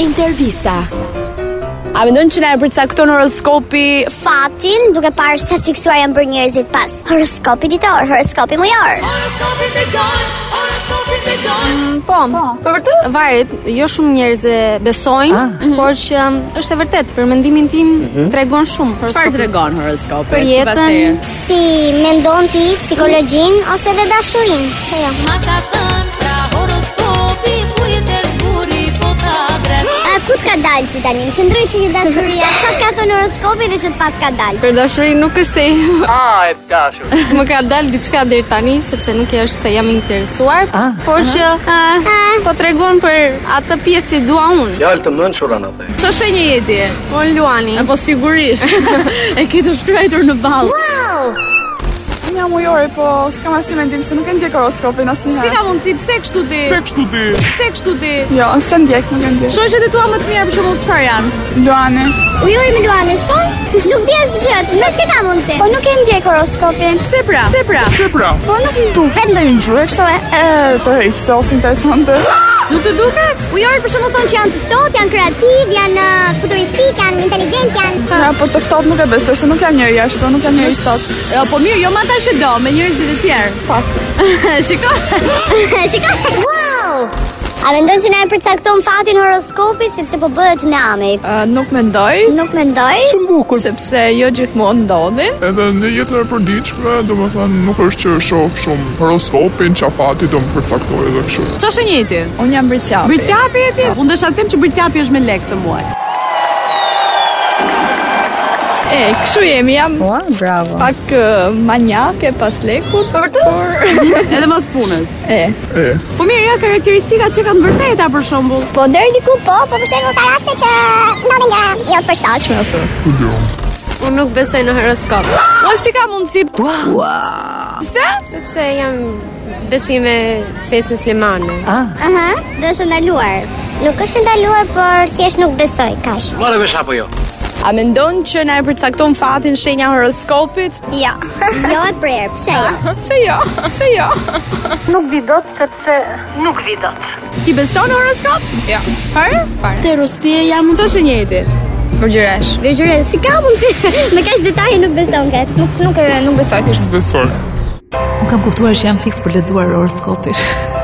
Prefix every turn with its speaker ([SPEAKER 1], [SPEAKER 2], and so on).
[SPEAKER 1] Intervista.
[SPEAKER 2] A mendon që na e përcakton horoskopi?
[SPEAKER 3] fatin duke parë se fiksuar janë për njerëzit pas horoskopi ditor, horoskopi mujor.
[SPEAKER 4] Po, po vërtet? Varet, jo shumë njerëz e besojnë, por që um, është e vërtet, për mendimin tim tregon shumë për
[SPEAKER 2] Çfarë tregon horoskopi?
[SPEAKER 4] për jetën.
[SPEAKER 3] Si mendon ti psikologjin ose dhe dashurinë? Se jo.
[SPEAKER 5] Ma ka thënë pra horoskopi Fujet e zburi po ta dret
[SPEAKER 3] A ku t'ka dalë ti tani? Në qendroj ti dashuria. Çka t'ka thënë horoskopi dhe çka t'ka dalë?
[SPEAKER 4] Për dashurinë nuk është se
[SPEAKER 6] Ah, e të dashur.
[SPEAKER 4] më ka dalë diçka deri tani, sepse nuk e është se jam interesuar, por që eh, po tregon për atë pjesë që dua unë.
[SPEAKER 6] Fjallë të mënë shuran atë.
[SPEAKER 2] Ço shenjë jeti?
[SPEAKER 4] Unë Luani.
[SPEAKER 2] Apo Po, sigurisht. e ke të shkruar në ballë.
[SPEAKER 3] Wow!
[SPEAKER 7] Unë jam ujori, po s'kam asnjë mendim se nuk e ndjek horoskopin
[SPEAKER 2] Si
[SPEAKER 7] asnjëherë.
[SPEAKER 2] ka mundësi pse kështu ti? Pse kështu ti? Pse kështu ti?
[SPEAKER 7] Jo, s'e ndjek, nuk e ndjek.
[SPEAKER 2] Shoqet e tua më të mira për shembull çfarë janë?
[SPEAKER 7] Luani,
[SPEAKER 3] Ujori me Luane shkon? Nuk di asgjë, nuk e kam unë ti. Po nuk e ndjek horoskopin.
[SPEAKER 2] Pse pra? Pse pra?
[SPEAKER 3] Po nuk e
[SPEAKER 7] tu vend ndonjë ngjyrë kështu e e, tërheqëse ose interesante.
[SPEAKER 2] Nuk të duket?
[SPEAKER 3] Ujori për shembull thonë që janë të ftohtë, janë kreativ, janë uh, futuristik, janë inteligjent, janë
[SPEAKER 7] Ja, po të ftohtë nuk e besoj se nuk jam njëri ashtu, nuk jam njëri i ftohtë.
[SPEAKER 2] Jo, po mirë, jo me ata që do, me njerëzit e tjerë. Shiko.
[SPEAKER 3] Shikoj. Wow! A mendon që na e përcakton fatin horoskopi sepse po bëhet në ami?
[SPEAKER 7] nuk mendoj,
[SPEAKER 3] Nuk mendoj.
[SPEAKER 7] sepse jo gjithmonë ndodhin.
[SPEAKER 8] Edhe në jetën e përditshme, domethënë nuk është që shoh shumë horoskopin, çafati do më përcaktoj edhe kështu.
[SPEAKER 2] Ço shenjë jeti?
[SPEAKER 7] Unë jam Britjapi.
[SPEAKER 2] Britjapi e ti? Unë desha të them që Britjapi është me lek të muaj.
[SPEAKER 7] E, kështu jemi, jam
[SPEAKER 1] Ua, bravo.
[SPEAKER 7] pak e, manjake pas lekut. Për
[SPEAKER 2] Edhe mos punës.
[SPEAKER 7] E,
[SPEAKER 8] E,
[SPEAKER 2] Po mirë, ja karakteristikat që kanë vërteta për shembull.
[SPEAKER 3] Po deri diku po, po për shembull ka raste që ndodhin gjëra jo të përshtatshme.
[SPEAKER 8] ku do?
[SPEAKER 4] Unë nuk besoj në horoskop,
[SPEAKER 2] Po si ka mundësi?
[SPEAKER 4] sepse jam besime fesë muslimane.
[SPEAKER 3] Aha, do është ndaluar. Nuk është ndaluar, por thjesht nuk besoj kaq.
[SPEAKER 6] Mare vesh apo jo?
[SPEAKER 2] A mendon që na e përcakton fatin shenja horoskopit?
[SPEAKER 3] Jo. jo e prerë, pse jo?
[SPEAKER 2] Se jo, se jo. Nuk vi dot sepse nuk vi dot. Ti beson në horoskop? Jo. Fare? Fare. Se rostie jam ço shenjeti.
[SPEAKER 4] Përgjyresh.
[SPEAKER 3] Vegjëre, si ka mundsi? Në kaq detaje nuk beson kaq. Nuk nuk e nuk besoj.
[SPEAKER 8] S'besoj.
[SPEAKER 1] Unë kam kuptuar që jam fiks për lexuar horoskopin.